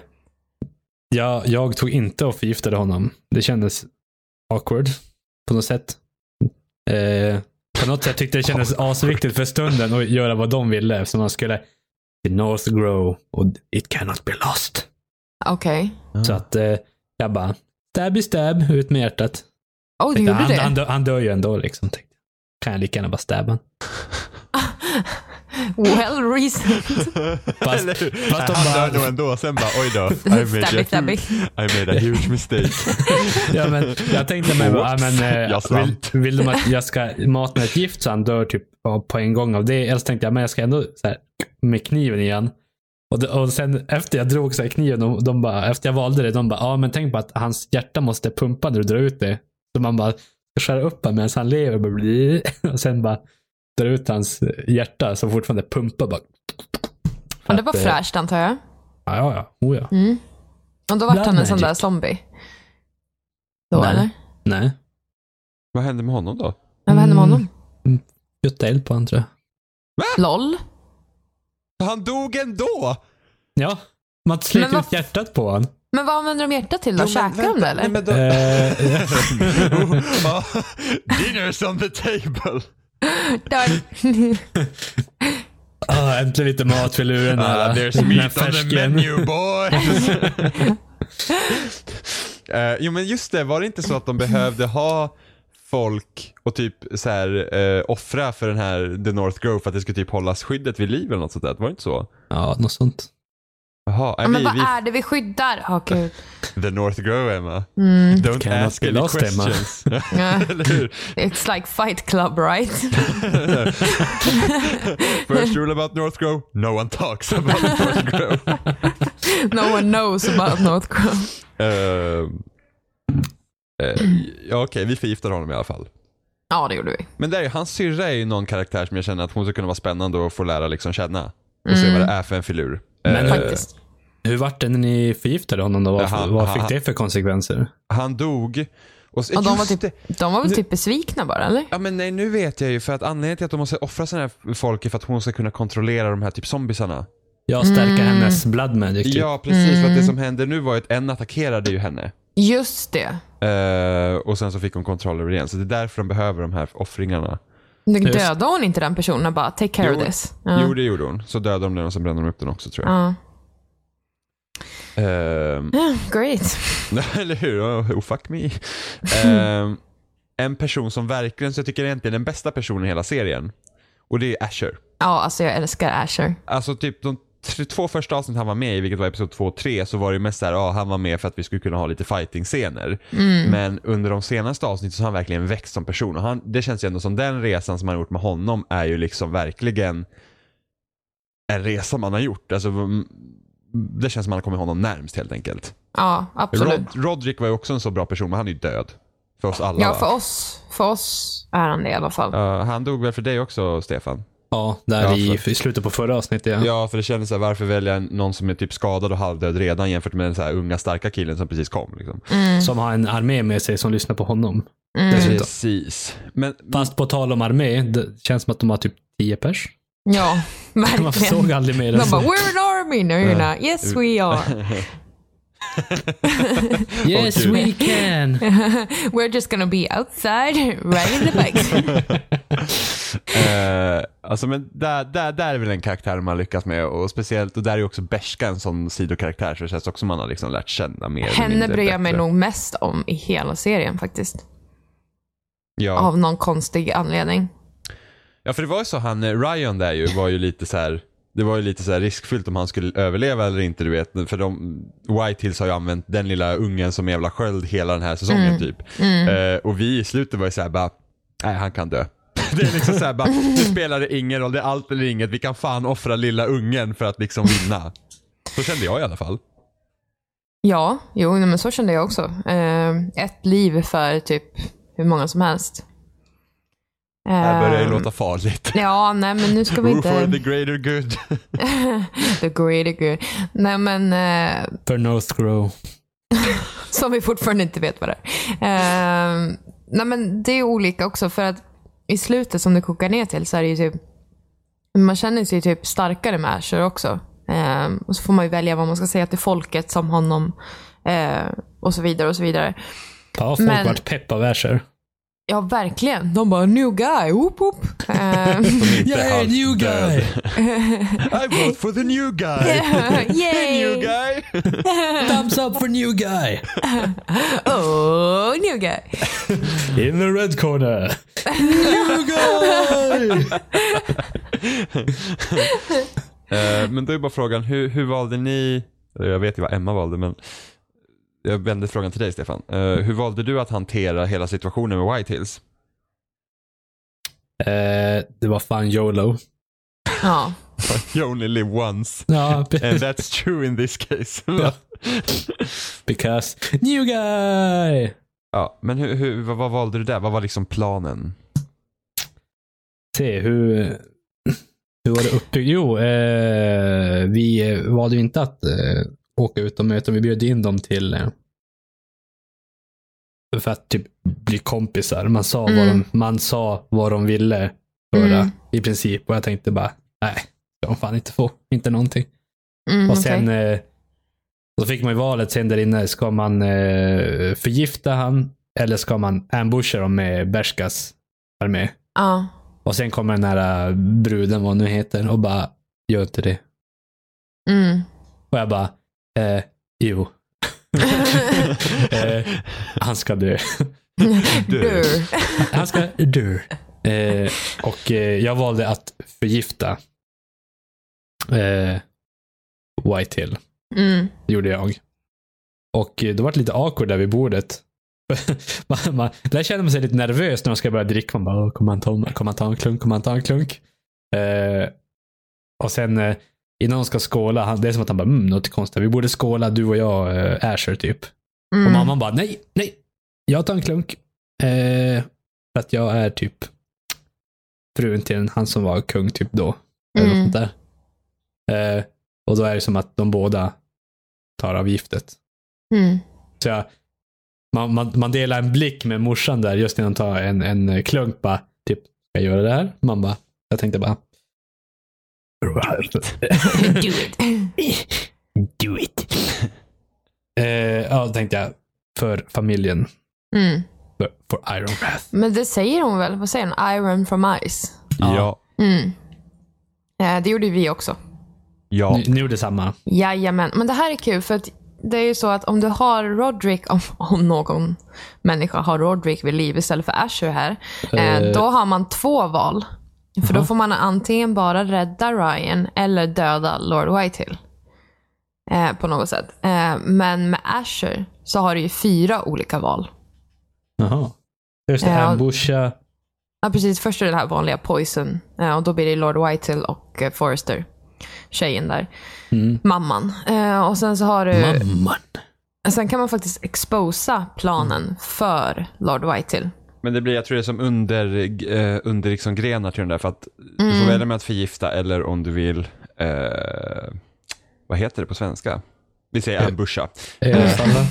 jag, jag tog inte och förgiftade honom. Det kändes awkward på något sätt. Eh, på något sätt tyckte jag det kändes asviktigt för stunden att göra vad de ville. Eftersom de skulle till North Grow och it cannot be lost. Okej. Så att eh, jag bara stabby stab ut med hjärtat. Åh, Oh, du Tänkte, gjorde han, han, det? dö, han dör ju ändå liksom. Tänkte. jag. Kan jag lika gärna bara stabba honom. Well reasoned. Fast- Eller hur? fast de Han bara- dör nog ändå. Sen bara oj då. I made, Stabby, a, stabby. I made a huge mistake. Ja, men jag tänkte mig bara, ja, men, eh, Jag svamp. vill, vill de att jag ska mata med ett gift så han dör typ ja, på en gång av det. Eller så tänkte jag, men jag ska ändå så här, med kniven igen. Och, det, och sen efter jag drog så här, kniven, de, de bara, efter jag valde det, de bara, ja men tänk på att hans hjärta måste pumpa när du drar ut det. Så man bara skär upp honom medan han lever. Bara, bli- och sen bara drar ut hans hjärta som fortfarande pumpar. Bara, Men det var Att, eh, fräscht, antar jag. Mm. ja, ja, ja. Oh, ja. Och då vart Blood han en sån magic. där zombie. Då, Nej. eller? Nej. Vad hände med honom då? Ja, vad hände med Mm. honom? Götta eld på honom tror jag. LOL. Han dog ändå! Ja. Man slet Men vad- ut hjärtat på honom. Men vad använder de hjärtat till då? Käkar de det eller? Nej, men då... Eh, Ja, Dinner's on the table. Där- Ah, äntligen lite mat vid luren. här. Ah, there's Den här meat on the färsken. menu boys. Eh, jo men just det, var det inte så att de behövde ha folk och typ så här, eh, offra för den här The North Grove för att det skulle typ hållas skyddet vid liv eller något sånt där? Var det inte så? Ja, något sånt. Jaha, ja, nej, men vi, vad är det vi skyddar? Ja, gud. vi, The North Grove Emma. Mm. Don't Cannot ask be any lost, Emma. questions. Ja, eller hur? It's like fight club right? First rule about North Grove, no one talks about North Grove. No one knows about North Grove. Eh, eh, ja, Okej, vi förgiftar honom i alla fall. Ja, det gjorde vi. Men där, hans syrra är ju någon karaktär som jag känner att hon skulle kunna vara spännande och få lära liksom känna. Och se vad det är för en filur. Mm. Men- Eh, Faktiskt. Hur vart det när ni förgiftade honom då? Vad, Jaha, vad aha. fick det för konsekvenser? han dog Och, så, Och de, var just typ, det. de var väl Nu- typ besvikna bara, eller? Ja men nej, nu vet jag ju för att anledningen till att de måste offra sådana här folk är för att hon ska kunna kontrollera de här typ zombisarna. Jag Mm. stärker hennes blood magic. Typ. Ja precis, för att det som hände nu var ju att en attackerade ju henne. Just det. Eh, och sen så fick hon kontroll över det igen. Så det är därför de behöver de här offringarna. Nu Just. dödade hon inte den personen och bara, take care Jo. of this. Ja. Jo det gjorde hon. Så dödade de den och sen brände de upp den också tror jag. Ja. Ehm, Great. eller hur? Oh, oh, fuck me. Ehm, en person som verkligen, så jag tycker egentligen är den bästa personen i hela serien. Och det är Asher. Ja, alltså jag älskar Asher. Alltså typ de tre, två första avsnitt han var med i, vilket var episod två och tre, så var det ju mest såhär, ja han var med för att vi skulle kunna ha lite fighting-scener. Mm. Men under de senaste avsnitten så har han verkligen växt som person. Och han, det känns ju ändå som den resan som man har gjort med honom är ju liksom verkligen en resa man har gjort. Alltså, mm, det känns som man har kommit honom närmst helt enkelt. Ja, absolut. Rod, Roderick var ju också en så bra person, men han är ju död. För oss alla Ja, va? för oss, för oss är han det i alla fall. Ja, han dog väl för dig också Stefan? Ja, där Ja, i, i slutet på förra avsnittet. Ja. Ja, för det kändes så här, varför välja någon som är typ skadad och halvdöd redan jämfört med den så här unga starka killen som precis kom? Liksom. Mm. Som har en armé med sig som lyssnar på honom. Dessutom. Precis. Men, Fast på tal om armé, det känns som att de har typ 10 pers. Ja, Man såg verkligen. aldrig mer än De bara, så. we're an army. No, you're not. Yes, we are. Yes Åh, we can! We're just gonna be outside riding the bikes. eh, alltså, men där, där, där är väl en karaktär man lyckats med och speciellt, och där är ju också Berska en sån sidokaraktär så det känns också man har liksom lärt känna mer eller Henne mindre bryr jag mig bättre. nog mest om i hela serien faktiskt. Ja. Av någon konstig anledning. Ja, för det var ju så han, eh, Ryan där ju, var ju lite så här. Det var ju lite så här riskfyllt om han skulle överleva eller inte, du vet. För de, White Hills har ju använt den lilla ungen som jävla sköld hela den här säsongen typ. Eh, och vi i slutet var ju så här bara, nej han kan dö. Det är liksom så här bara, nu spelar det ingen roll, det är allt eller inget. Vi kan fan offra lilla ungen för att liksom vinna. Så kände jag i alla fall. Ja, jo, nej, men så kände jag också. Eh, ett liv för typ hur många som helst. Eh, Det här börjar ju låta farligt. Ja, nej men nu ska vi Who for the inte... greater good. The greater good. Nej men, eh, För North Grow. som vi fortfarande inte vet vad det är. Eh, nej men det är olika också för att i slutet som det kokar ner till så är det ju typ, man känner sig ju typ starkare med Asher också. Eh, och så får man ju välja vad man ska säga till folket som honom eh, och så vidare och så vidare. Ja, folk Men- vart pepp av Asher. Ja, verkligen. De bara new guy, whoop whoop. Eh, Som inte är Yeah, halvt new död. guy! I vote for the new guy. Hey new Yay! guy. Thumbs up for new guy! Oh, new guy. In the red corner! New guy! Eh, men då är bara frågan, hur, hur valde ni, jag vet ju vad Emma valde men jag vänder frågan till dig Stefan. Eh, hur valde du att hantera hela situationen med White Hills? Eh, det var fan YOLO. Ja. You only live once. Ja, And that's true in this case. Ja. because new guy! ja, men hur, hur, vad, vad valde du där? Vad var liksom planen? se hur, hur var det uppbyggt? Jo, eh, vi eh, valde ju inte att eh, åka ut och möta, vi bjöd in dem till eh, för att typ bli kompisar. Man sa, vad, Mm. de, man sa vad de ville höra Mm. i princip och jag tänkte bara, nej, de fan inte få, inte någonting. Mm, Och sen okej. eh, då fick man ju valet sen där inne. Ska man eh, förgifta han eller ska man ambusha dem med Berskas armé? Ja. Och sen kommer den här äh, bruden, vad hon nu heter, och bara, gör inte det. Mm. Och jag bara, eh, jo. eh, han ska dö. Du. Dur. Han ska dö. Eh, och eh, jag valde att förgifta eh, Whitehill. Mm. Det gjorde jag. Och eh, det var lite awkward där vid bordet. man, man, där känner man sig lite nervös när man ska börja dricka. Man bara, "Åh, kommer han ta, kommer han ta en klunk? Kommer han ta en klunk? Eh, och sen eh, innan de ska skåla, han, det är som att han bara, mm, något konstigt. Vi borde skåla du och jag, eh, Asher typ. Och Mm. mamman bara, nej, nej. Jag tar en klunk. Eh, för att jag är typ frun till den, han som var kung typ då. Eller något Mm. sånt där. Eh, och då är det som att de båda tar av giftet. Mm. Så jag, man, man, man delar en blick med morsan där just innan hon tar en, en klunk. Bara, typ, ska jag göra det här? Man bara, jag tänkte bara. Do it. Do it. eh, ja, då tänkte jag. För familjen. Mm. För, för Iron Wrath. Men det säger hon väl? Vad säger hon? Iron from ice. Ja. Ja. Mm. Eh, det gjorde vi också. Ja. Nu, nu är det samma. Jajamän. Men det här är kul för att det är ju så att om du har Roderick, om, om någon människa har Roderick vid liv istället för Asher här, eh, Eh. då har man två val. För då Jaha. får man antingen bara rädda Ryan eller döda Lord Whitehill. Eh, på något sätt. Eh, men med Asher så har du ju fyra olika val. Jaha. Just det, Ja. ambusha. Ja, precis. Först är det här vanliga Poison. eh, Och då blir det Lord Whitehill och eh, Forrester. Tjejen där. Mm. Mamman. Eh, Och sen så har du... Mamman. Sen kan man faktiskt exposa planen för Lord Whitehill. Men det blir, jag tror det är som under, eh, under liksom grenar till den där. För att du får välja med att förgifta eller om du vill, eh, vad heter det på svenska? Vi säger ambusha. Eh. Överfalla.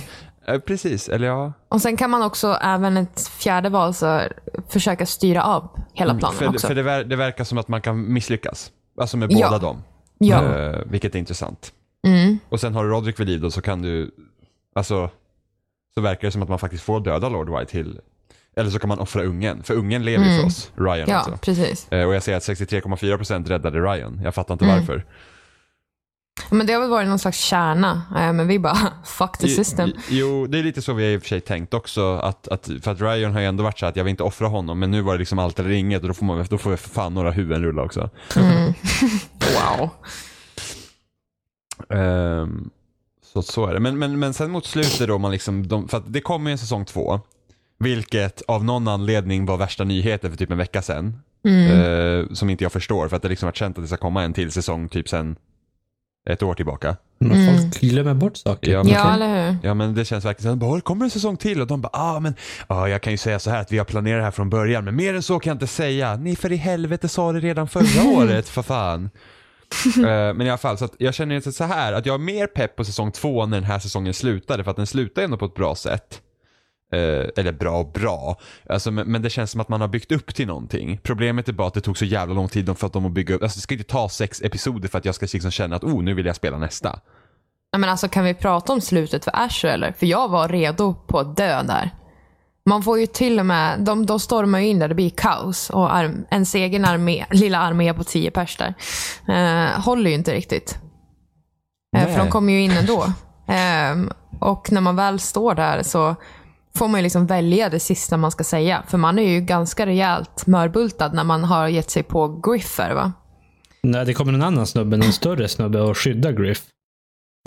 Eh, precis, eller ja. Och Sen kan man också, även ett fjärde val, så försöka styra av hela planen Mm, För, också. för det, ver- det verkar som att man kan misslyckas. Alltså med båda Ja. dem. ja. Eh, vilket är intressant. Mm. Och sen har du Roderick vid liv då så kan du, alltså, så verkar det som att man faktiskt får döda Lord Whitehill. Eller så kan man offra ungen, för ungen lever ju för oss, Ryan Mm. ja, alltså. precis. Eh, Och jag ser att 63,4% räddade Ryan. Jag fattar inte Mm. varför. Men Det har väl varit någon slags kärna, eh, men vi bara fuck the system. I- i- Jo, det är lite så vi har i och för sig tänkt också. Att, att, för att Ryan har ju ändå varit så här att jag vill inte offra honom, men nu var det liksom allt eller inget och då får, man, då får vi för fan några huvuden rulla också. Mm. Wow. Ehm, så, så är det. Men, men, men sen mot slutet då, man liksom, de, för att det kom ju en säsong två. Vilket av någon anledning var värsta nyheten för typ en vecka sedan. Ehm, som inte jag förstår, för att det liksom varit känt att det ska komma en till säsong typ sen ett år tillbaka. Men folk glömmer bort saker. Ja, men- Mm. Ja, eller hur? Ja men det känns verkligen som att kommer en säsong till och de bara ah men ah, jag kan ju säga så här att vi har planerat det här från början men mer än så kan jag inte säga. Ni för i helvete sa det redan förra året för fan. Eh, men i alla fall så att jag känner ju så här att jag är mer pepp på säsong två när den här säsongen slutade för att den slutade ändå på ett bra sätt. Eh, eller bra och bra. Alltså, men, men det känns som att man har byggt upp till någonting. Problemet är bara att det tog så jävla lång tid för att de att bygga upp. Alltså det ska inte ta sex episoder för att jag ska liksom känna att oh nu vill jag spela nästa. Ja, men alltså, kan vi prata om slutet för Asher eller? För jag var redo på att dö där. Man får ju till och med, de, de stormar ju in där, det blir kaos. Och arm, ens egen armé, lilla armé på tio pers där, eh, håller ju inte riktigt. Eh, Nej. för de kommer ju in ändå. Ehm, och när man väl står där så får man ju liksom välja det sista man ska säga. För man är ju ganska rejält mörbultad när man har gett sig på Griffer. Va? När det kommer en annan snubbe, en större snubbe och skyddar Griff.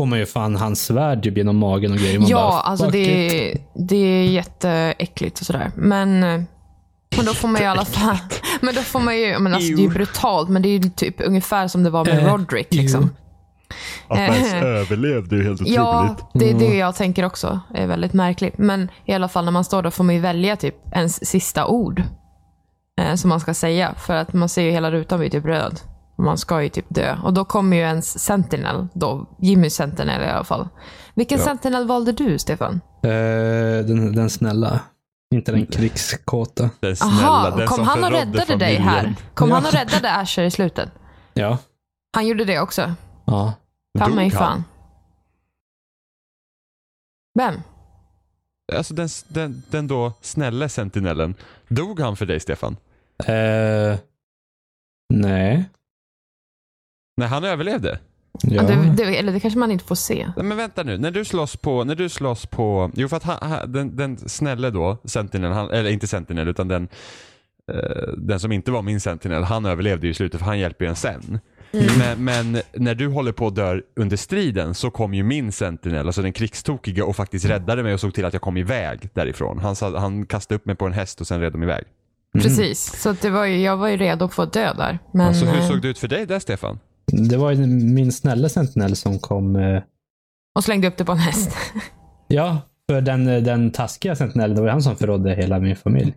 Får man ju fan hans svärd typ genom magen och grejer. Man Ja, bara, alltså fuck det it. är, det är jätteäckligt och sådär. Men, eh, men då får man ju i alla fall... Men då får man ju, men alltså, det är ju Ew. brutalt, men det är ju typ ungefär som det var med Eh, Roderick. Liksom. Att man ens överlevde är ju helt Ja, det är det jag tänker också. är väldigt märkligt. Men i alla fall när man står där får man ju välja typ ens sista ord. Eh, som man ska säga. För att man ser ju hela rutan blir typ röd. Och Man ska ju typ dö. Och då kommer ju ens Sentinel. Då, Jimmy Sentinel i alla fall. Vilken Ja. Sentinel valde du, Stefan? Eh, den, den snälla. Inte den krigskåta. Den snälla, Aha, den kom som han och förrådde räddade dig familjen. här? Kom Ja. han och räddade Asher i slutet? Ja. Han gjorde det också. ja. Ta Dog mig han? fan. Vem? Alltså den, den, den då snälla sentinellen. Dog han för dig Stefan? Eh, nej. Nej, han överlevde. Ja. Mm. Ja. Det, det, eller det kanske man inte får se. Nej, men vänta nu, när du slåss på, när du slåss på, jo för att han, han, den, den snälle då, sentinel, han, eller inte sentinel utan den, eh, den som inte var min sentinel, han överlevde ju i slutet för han hjälper ju en sen. Men, men när du håller på och dör under striden så kom ju min sentinel, alltså den krigstokiga och faktiskt räddade mig och såg till att jag kom iväg därifrån. Han, sa- han kastade upp mig på en häst och sen red de iväg. Precis. Så att det var ju, jag var ju redo på att dö där. Men, Alltså, hur eh, såg det ut för dig där Stefan? det var ju min snälla sentinell som kom. eh, Och slängde upp det på en häst. ja, för den, den taskiga sentinellen, det var ju han som förrådde hela min familj.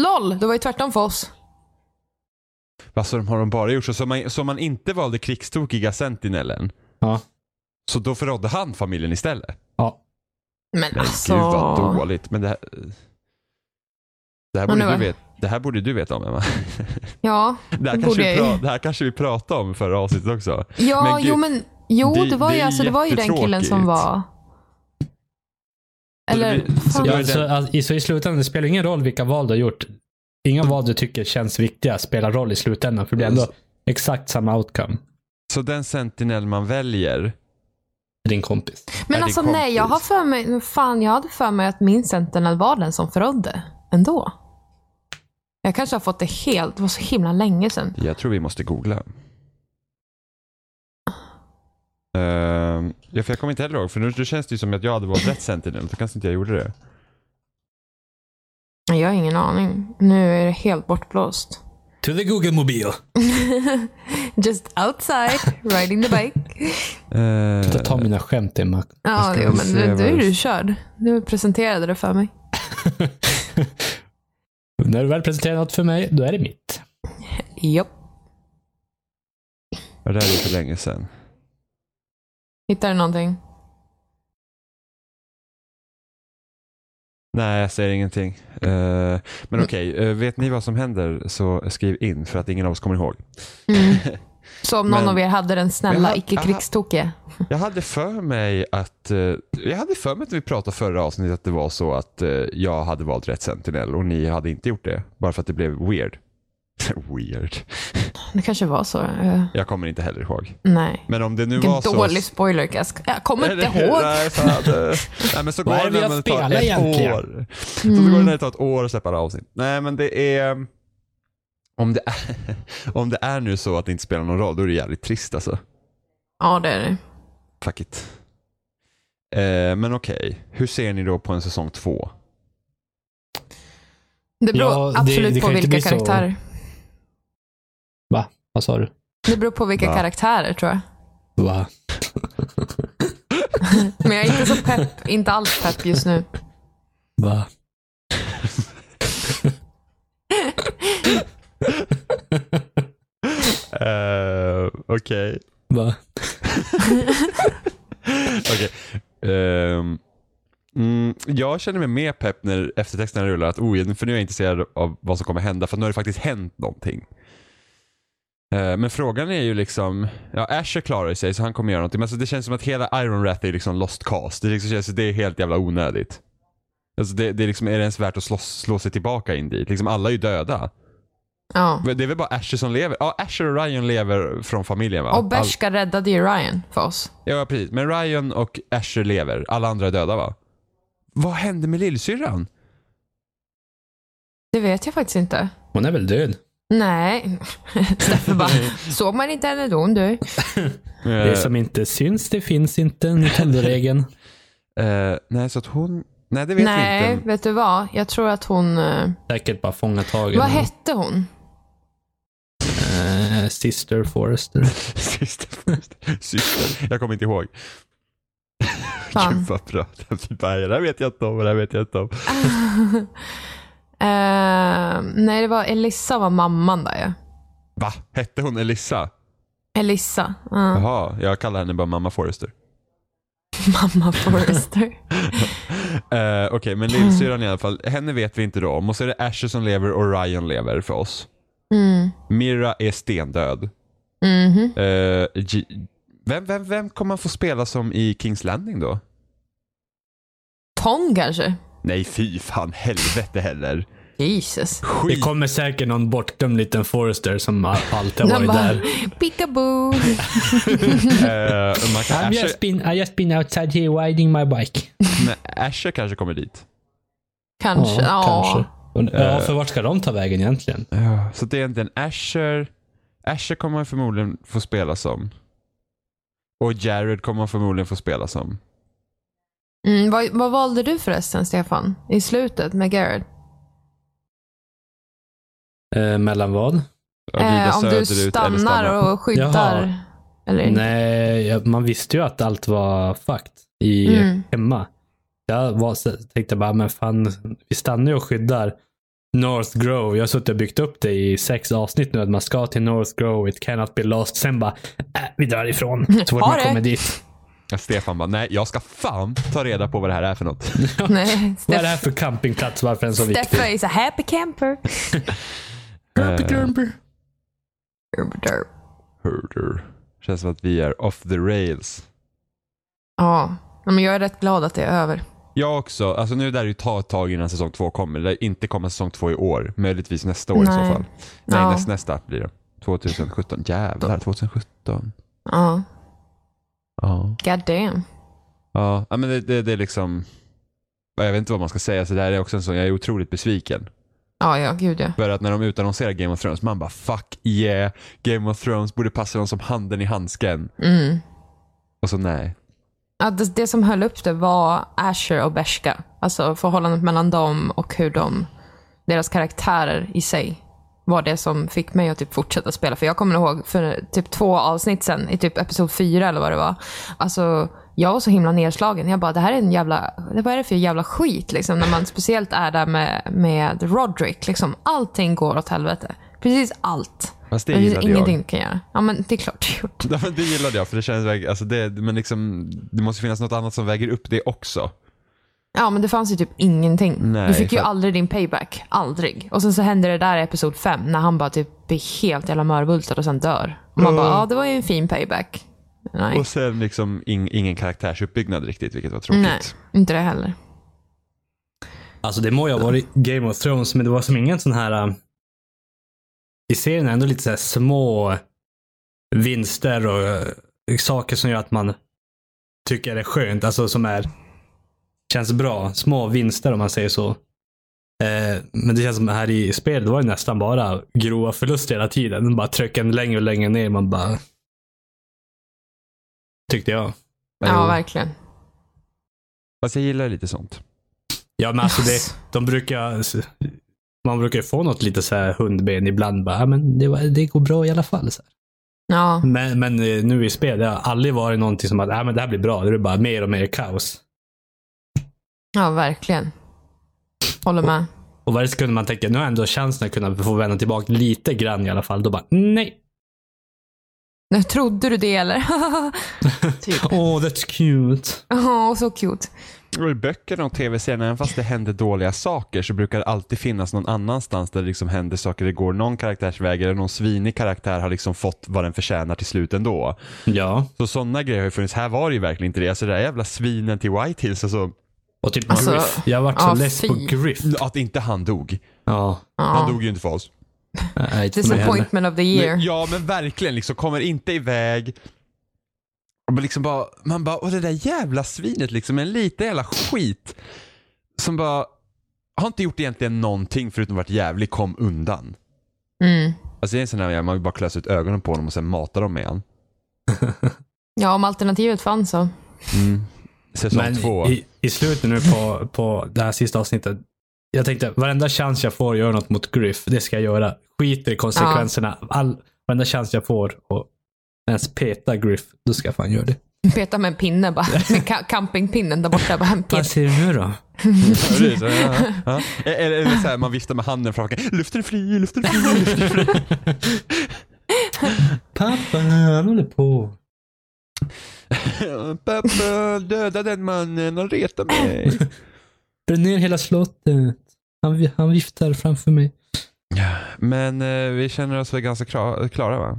LOL! Det var ju tvärtom för oss. Alltså de har de bara gjort så. Så man, så man inte valde krigstokiga sentinellen, Ja. så då förrådde han familjen istället. Ja. Men Men alltså. gud vad dåligt. Men det här, det här, Men borde, du det var- vet, det här borde du veta om Emma. Ja, Det här, Det kanske borde vi jag ju. pra- det här kanske vi pratade om förra avsnittet också. ja Men gud, jo men. Jo, det- det, var det ju, är alltså, det var ju den killen som jättetråkigt. var. Eller, Så det blir- så fan. det Ja, blir- så, alltså, i- så i slutändan, det spelar ingen roll vilka val du har gjort. Inga val du tycker känns viktiga spelar roll i slutändan, för det blir ändå exakt samma outcome. Så den sentinel man väljer, för Din kompis. är Men din alltså nej, jag har kompis. för mig, fan jag hade för mig att min Sentinel var den som förrådde ändå. Jag kanske har fått det helt, det var så himla länge sedan. jag tror vi måste googla. Ehm, ja, för jag kommer inte heller ihåg, för nu, nu känns det ju som att jag hade valt rätt sentinel, då kanske inte jag gjorde det. Nej, Jag har ingen aning. Nu är det helt bortblåst. To the Google mobil. Just outside, riding the bike. Ehm, Ta, ta mina skämt Emma. Ja, ska jo, vi men se nu, vad nu är det- du körd. Du presenterade det för mig. När du väl presenterar något för mig, då är det mitt. Japp. ja, det här är för länge sedan. Hittar du någonting? Nej, jag säger ingenting. Ehm, Mm. men okej, eh, vet ni vad som händer så skriv in för att ingen av oss kommer ihåg. Mm. Så om någon Men- av er hade den snälla, Men- icke-krigstokiga. Jag hade för mig att eh, jag hade för mig att vi pratade förra avsnittet att det var så att eh, jag hade valt rätt sentinel och ni hade inte gjort det. Bara för att det blev weird. weird. Det kanske var så. eh, Jag kommer inte heller ihåg. nej. Men om det nu var Vilken så... dålig spoiler, Kask. Jag kommer inte Eller hur? ihåg. Nej, fan, det- eh, Nej, men så går Vad är det det vi när har det tar spelat ett egentligen? år. Så det går det när det tar ett år att släppa det här avsnitt. Nej, men det är... Om det är, om det är nu så att det inte spelar någon roll, då är det jävligt trist alltså. Ja, det är det. Fuck it. Eh, men okej, hur ser ni då på en säsong två? Det beror Ja, det- absolut det på kan ju inte vilka bli så. karaktärer. Va? Vad sa du? Det beror på vilka Va? karaktärer tror jag. Va? Men jag är inte så pepp, inte alls pepp just nu. Va? Eh, Okej. Va? Okej. Ehm, mm, jag känner mig mer pepp när eftertexterna rullar. Att, oh, för nu är jag intresserad av vad som kommer hända. För nu har det faktiskt hänt någonting. Eh, men frågan är ju liksom. Ja, Asher klarar sig så han kommer göra någonting. Men alltså, det känns som att hela Iron Rat är liksom lost cast. Det, liksom känns, det är helt jävla onödigt. Alltså det, det är, liksom, är det ens värt att slå, slå sig tillbaka in dit? Liksom alla är ju döda. Ja. Men Det är väl bara Asher som lever? Ja, Asher och Ryan lever från familjen va? Och Berska räddade ju Ryan för oss. Ja, precis. Men Ryan och Asher lever. Alla andra är döda, va? Vad hände med lillsyrran? Det vet jag faktiskt inte. Hon är väl död? Nej. Steffe bara, såg man inte henne då hon dör? Det som inte syns, det finns inte. Nintendo-regeln. Eh, eh, nej, så att hon... Nej, det vet vi Nej, inte. vet du vad? Jag tror att hon... eh, Säkert bara fånga tag i Vad den. hette hon? Eh, Sister Forrester. Syster, syster. Jag kommer inte ihåg. Gud Fan. vad bra. Bara, Det där vet jag inte om, det där vet jag inte om. Eh, nej, det var Elissa var mamman där ja. Va? Hette hon Elissa? Elissa. ja. Jaha, jag kallar henne bara mamma Forrester. Mamma Forrester. Eh, Okej, men lillsyrran i alla fall. Henne vet vi inte då om. Och så är det Asher som lever och Ryan lever för oss. Mm. Mira är stendöd. Mhm. Eh, G- vem, vem, vem kommer man få spela som i Kings Landing då? Tom kanske? Nej, fy fan helvete heller. Jesus. Det Skit. kommer säkert någon bortglömd liten Forrester som all- alltid har Den varit bara, där. peekaboo. Eh, man kan, Asher, been, I just been outside here riding my bike. nej, Asher kanske kommer dit. Kanske. Ja, kanske. Ja, för vart ska de ta vägen egentligen? Ja, Så det är inte en Asher. Asher kommer man förmodligen få spela som. Och Jared kommer man förmodligen få spela som. Mm, vad, vad valde du förresten, Stefan? I slutet med Garrett? Eh, mellan vad? Ja, vrida Eh, om du söderut eller stanna. stannar och skyddar? Jaha. Eller? Nej, jag- man visste ju att allt var fucked i Mm. hemma. Jag var, så- tänkte bara, men fan, vi stannar ju och skyddar North Grove. Jag har suttit och byggt upp det i sex avsnitt nu, att man ska till North Grove, it cannot be lost. Sen bara, äh, vi drar ifrån. Så fort Ha man det. kommer dit. stackars Stefan bara, nej jag ska fan ta reda på vad det här är för något. Nej, Vad är det Steff, här för campingplats? Varför är den så viktig? Steffa is a happy camper. Eh, Derp, derp. Herder. Känns som att vi är off the rails. Ja, men jag är rätt glad att det är över. Jag också. Alltså nu är det där ju ta ett tag innan säsong två kommer. Det lär inte komma säsong två i år. Möjligtvis nästa år i Nej. så fall. Nej, Ja. näst, nästa blir det. 2017. Jävlar, 2017. Ja, Ja. god damn. Ja, ja, men det, det, det är liksom... Jag vet inte vad man ska säga, så det här är också en sån, jag är otroligt besviken. Ja, ja, gud ja. För att när de utannonserar Game of Thrones, man bara fuck yeah, Game of Thrones borde passa dem som handen i handsken. Mm. Och så nej. Ja, det, det som höll upp det var Asher och Bershka. Alltså förhållandet mellan dem och hur de, deras karaktärer i sig var det som fick mig att typ fortsätta spela. För jag kommer ihåg för typ två avsnitt sen, i typ episod fyra eller vad det var. Alltså, jag var så himla nedslagen. Jag bara, det här är en jävla, vad är det för jävla skit? Liksom, när man speciellt är där med, med Roderick. Liksom, allting går åt helvete. Precis allt. Fast det Det finns gillade jag. Alltså, ingenting du kan göra. Ja, men det är klart du gjort. Ja, men det gillade jag, för det känns verkligen, alltså det, men liksom, det måste finnas något annat som väger upp det också. Ja, men det fanns ju typ ingenting. Nej, du fick ju för- aldrig din payback. Aldrig. Och sen så hände det där i episod 5 när han bara typ blir helt jävla mörbultad och sen dör. Och man bara, ja ah, det var ju en fin payback. Nej, Mm. Och sen liksom ing, ingen karaktärsuppbyggnad riktigt, vilket var tråkigt. Nej inte det heller. Alltså det må ju ha varit Game of Thrones, men det var som ingen sån här... äh, I serien är ändå lite så här små vinster och äh, saker som gör att man tycker det är skönt. Alltså som är... Känns bra. Små vinster om man säger så. Eh, Men det känns som här i spelet, det var ju nästan bara grova förluster hela tiden. Den bara trycker en längre och längre ner. Man bara... Tyckte jag. Ja, Jo. verkligen. Fast jag gillar lite sånt. Ja, men alltså det, de brukar, man brukar ju få något lite så här hundben ibland. Bara, "Ja, men det, var, det går bra i alla fall. Så här. Ja, Men, men eh, nu i spel, det har aldrig varit någonting som att "Ja, men det här blir bra. Det är bara mer och mer kaos. ja verkligen. Håller med. Och varje sekund man tänker nu har jag ändå chansen att kunna få vända tillbaka lite grann i alla fall. Då bara nej. Nu, trodde du det eller? typ. Åh, oh, that's cute. Ja, så cute. Och I böckerna och tv-serierna, även fast det händer dåliga saker så brukar det alltid finnas någon annanstans där det liksom händer saker. Det går någon karaktärsväg eller någon svinig karaktär har liksom fått vad den förtjänar till slut ändå. Ja, Så sådana grejer har ju funnits. Här var det ju verkligen inte det. Alltså det där jävla svinen till White Hills, alltså, och typ Alltså, Griff. Jag varit så ja, less på fy. Griff. att inte han dog. Ja, Han Ja. dog ju inte för oss. nej, inte för mig heller. Disappointment of the year. Men, ja men verkligen, liksom kommer inte iväg. Och man liksom bara, man bara, och det där jävla svinet liksom, en liten jävla skit. Som bara, har inte gjort egentligen någonting förutom varit jävlig, kom undan. Mm. Alltså det är en sån där, man vill bara klösa ut ögonen på honom och sen mata dem med han. Ja, om alternativet fanns så. Säsong Men två. I, i slutet nu på, på det här sista avsnittet. Jag tänkte varenda chans jag får göra något mot Griff, det ska jag göra. Skiter i konsekvenserna. All, varenda chans jag får och ens peta Griff, då ska jag fan göra det. Peta med en pinne bara. Med ka- campingpinnen där borta. Bara, peta. ser du nu då? Precis, ja, ja, ja. Eller, eller så här, man viftar med handen framför Luften är fri, luften är fri. luften är fri. Pappa, han håller på. Pappa, döda den mannen, han retar mig. Bränn ner hela slottet. Han, han viftar framför mig. Men eh, vi känner oss väl ganska kra- klara va?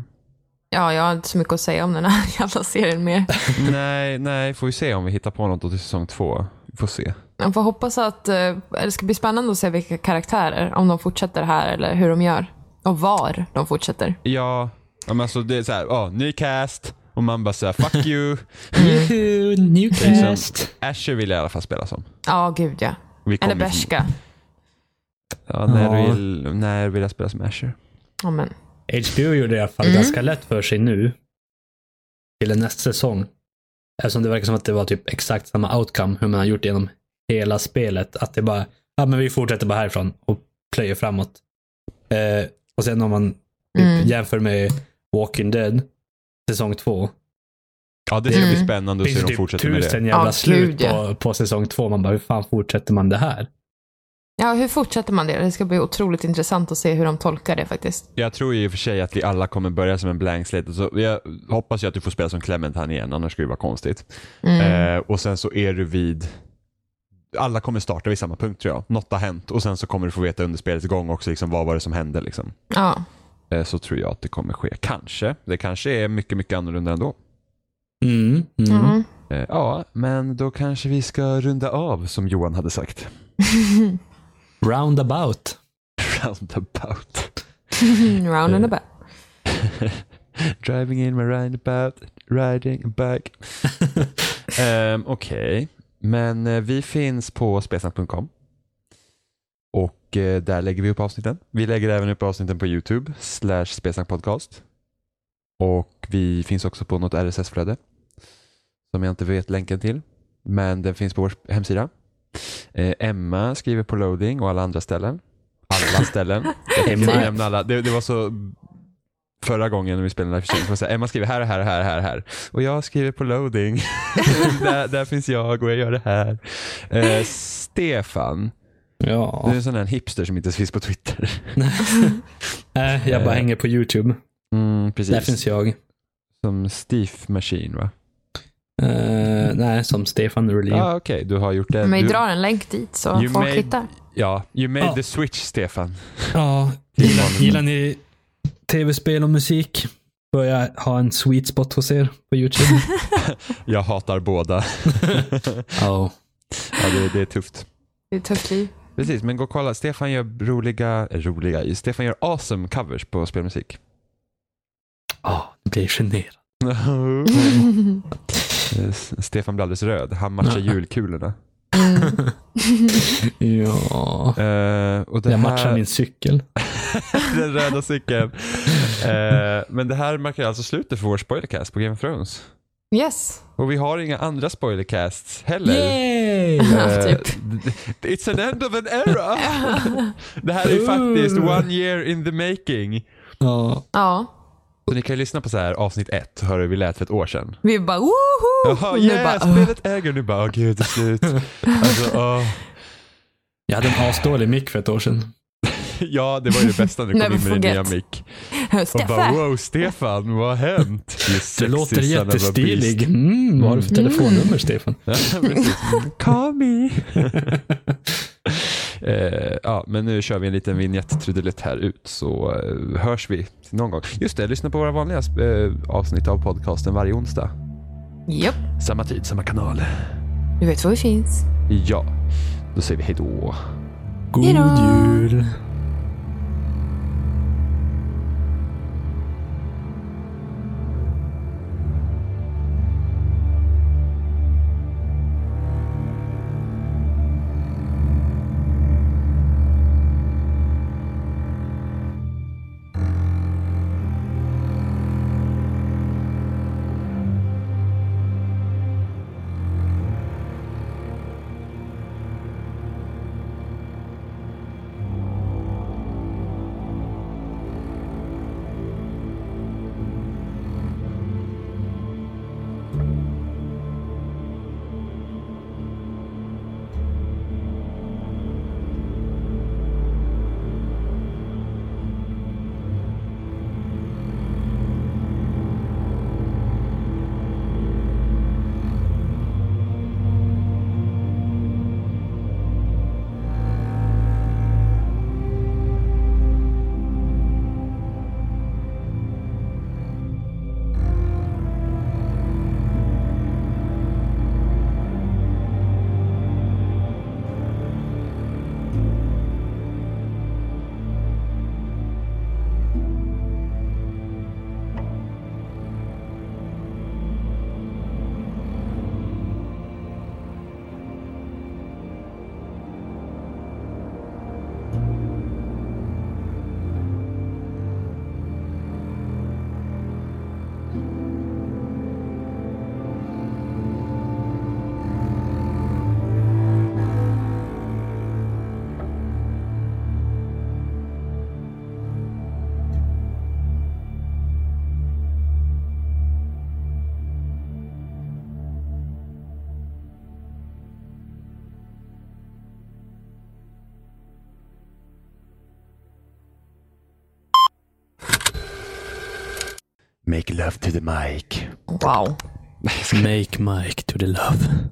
Ja, jag har inte så mycket att säga om den här jävla serien mer. nej, nej, får vi se om vi hittar på något då till säsong två. Vi får se. Man får hoppas att eh, det ska bli spännande att se vilka karaktärer, om de fortsätter här eller hur de gör. Och var de fortsätter. Ja, ja, men alltså det är så här, ja, ny cast och man bara säger fuck you. Mm. Juhu, Newcast. Asher vill jag i alla fall spela som. Ja, gud ja. Vi Eller kommer ju förmo- Bershka. Ja, när, Ja. Vill, när vill jag spela som Asher? Ja, men. HBO gjorde i alla Mm. fall ganska lätt för sig nu. Till nästa säsong. Eftersom det verkar som att det var typ exakt samma outcome hur man har gjort genom hela spelet. Att det bara, ja men vi fortsätter bara härifrån och plöjer framåt. Eh, och sen om man typ Mm. jämför med Walking Dead, säsong två. Ja, det ska bli Mm. spännande att se Finns hur det de typ fortsätter med det. tusen jävla Ja, slut gud, på, på säsong två. Man bara, hur fan fortsätter man det här? Ja, hur fortsätter man det? Det ska bli otroligt intressant att se hur de tolkar det faktiskt. Jag tror ju i och för sig att vi alla kommer börja som en blank slate. Så jag hoppas ju att du får spela som Clementine igen, annars skulle det vara konstigt. Mm. Eh, och sen så är du vid... Alla kommer starta vid samma punkt tror jag. Något har hänt och sen så kommer du få veta under spelets gång också liksom, vad var det som hände. Liksom. Ja. Eh, så tror jag att det kommer ske. Kanske. Det kanske är mycket, mycket annorlunda ändå. Mm, mm. Mm. Eh, ja, men då kanske vi ska runda av som Johan hade sagt. Roundabout. Roundabout. Mm. Round and about. Driving in my roundabout, riding a bike. Ehm, Okej, men eh, vi finns på spelsnack.com. Och eh, där lägger vi upp avsnitten. Vi lägger även upp avsnitten på YouTube, slash spelsnackpodcast. Och vi finns också på något RSS-flöde. Som jag inte vet länken till. Men den finns på vår hemsida. Eh, Emma skriver på loading och alla andra ställen. Alla ställen. Jag tänker inte Emma. nämna alla. Det, det var så förra gången när vi spelade Life is Strange. så var det så här, Emma skriver här, här, här, här, här. Och jag skriver på loading. där, där finns jag och jag gör det här. Eh, Stefan, Ja. du är en sån där hipster som inte ens finns på Twitter. Äh, jag bara Eh. hänger på YouTube. Mm, precis. Där finns jag. Som Steve Machine va? Eh, nej, som Stefan Rulin. Ja ah, okej, du har gjort det. Men vi Du, drar en länk dit så You folk made- hittar. ja, you made Ja. the switch Stefan. Ja, gillar, gillar ni tv-spel och musik? Börja ha en sweet spot hos er på YouTube. Jag hatar båda. Ja. Ja, det, det är tufft. Det är ett tufft liv. Precis, men gå och kolla. Stefan gör roliga, eh, roliga, Stefan gör awesome covers på spelmusik. Ja, det blir generad. Eh, Stefan blir alldeles röd. Han matchar julkulorna. Mm. Ja. Eh, och det Jag här, matchar min cykel. den röda cykeln. Eh, men det här markerar alltså slutet för vår spoilercast på Game of Thrones. Yes. Och vi har inga andra spoilercasts heller. Yay! Eh, typ. d- d- It's an end of an era! det här är ju faktiskt one year in the making. Ja. Ja. Så ni kan ju lyssna på så här avsnitt ett, hör hur vi lät för ett år sedan. Vi bara woho! Jaha, Nu yeah, Oh, bara, "Åh." spelet äger nu bara, åh gud, det är slut. Alltså, åh. Jag hade en asdålig mick för ett år sedan. Ja, det var ju det bästa när du kom Never in med din nya forget. mick. Och bara, Skaffa! wow Stefan, vad har hänt? You Du sexy låter son of a jättestilig. beast. Mm, vad har du för telefonnummer, Stefan? Ja, precis. Call me. eh, ja, men nu kör vi en liten vignett trudelutt här ut så eh, hörs vi någon gång. Just det, lyssna på våra vanliga eh, avsnitt av podcasten varje onsdag. Japp, Samma tid, samma kanal. du vet var vi finns. Ja, då säger vi hej då. God Hejdå. jul. Make love to the mic. Wow. Make Mike to the love.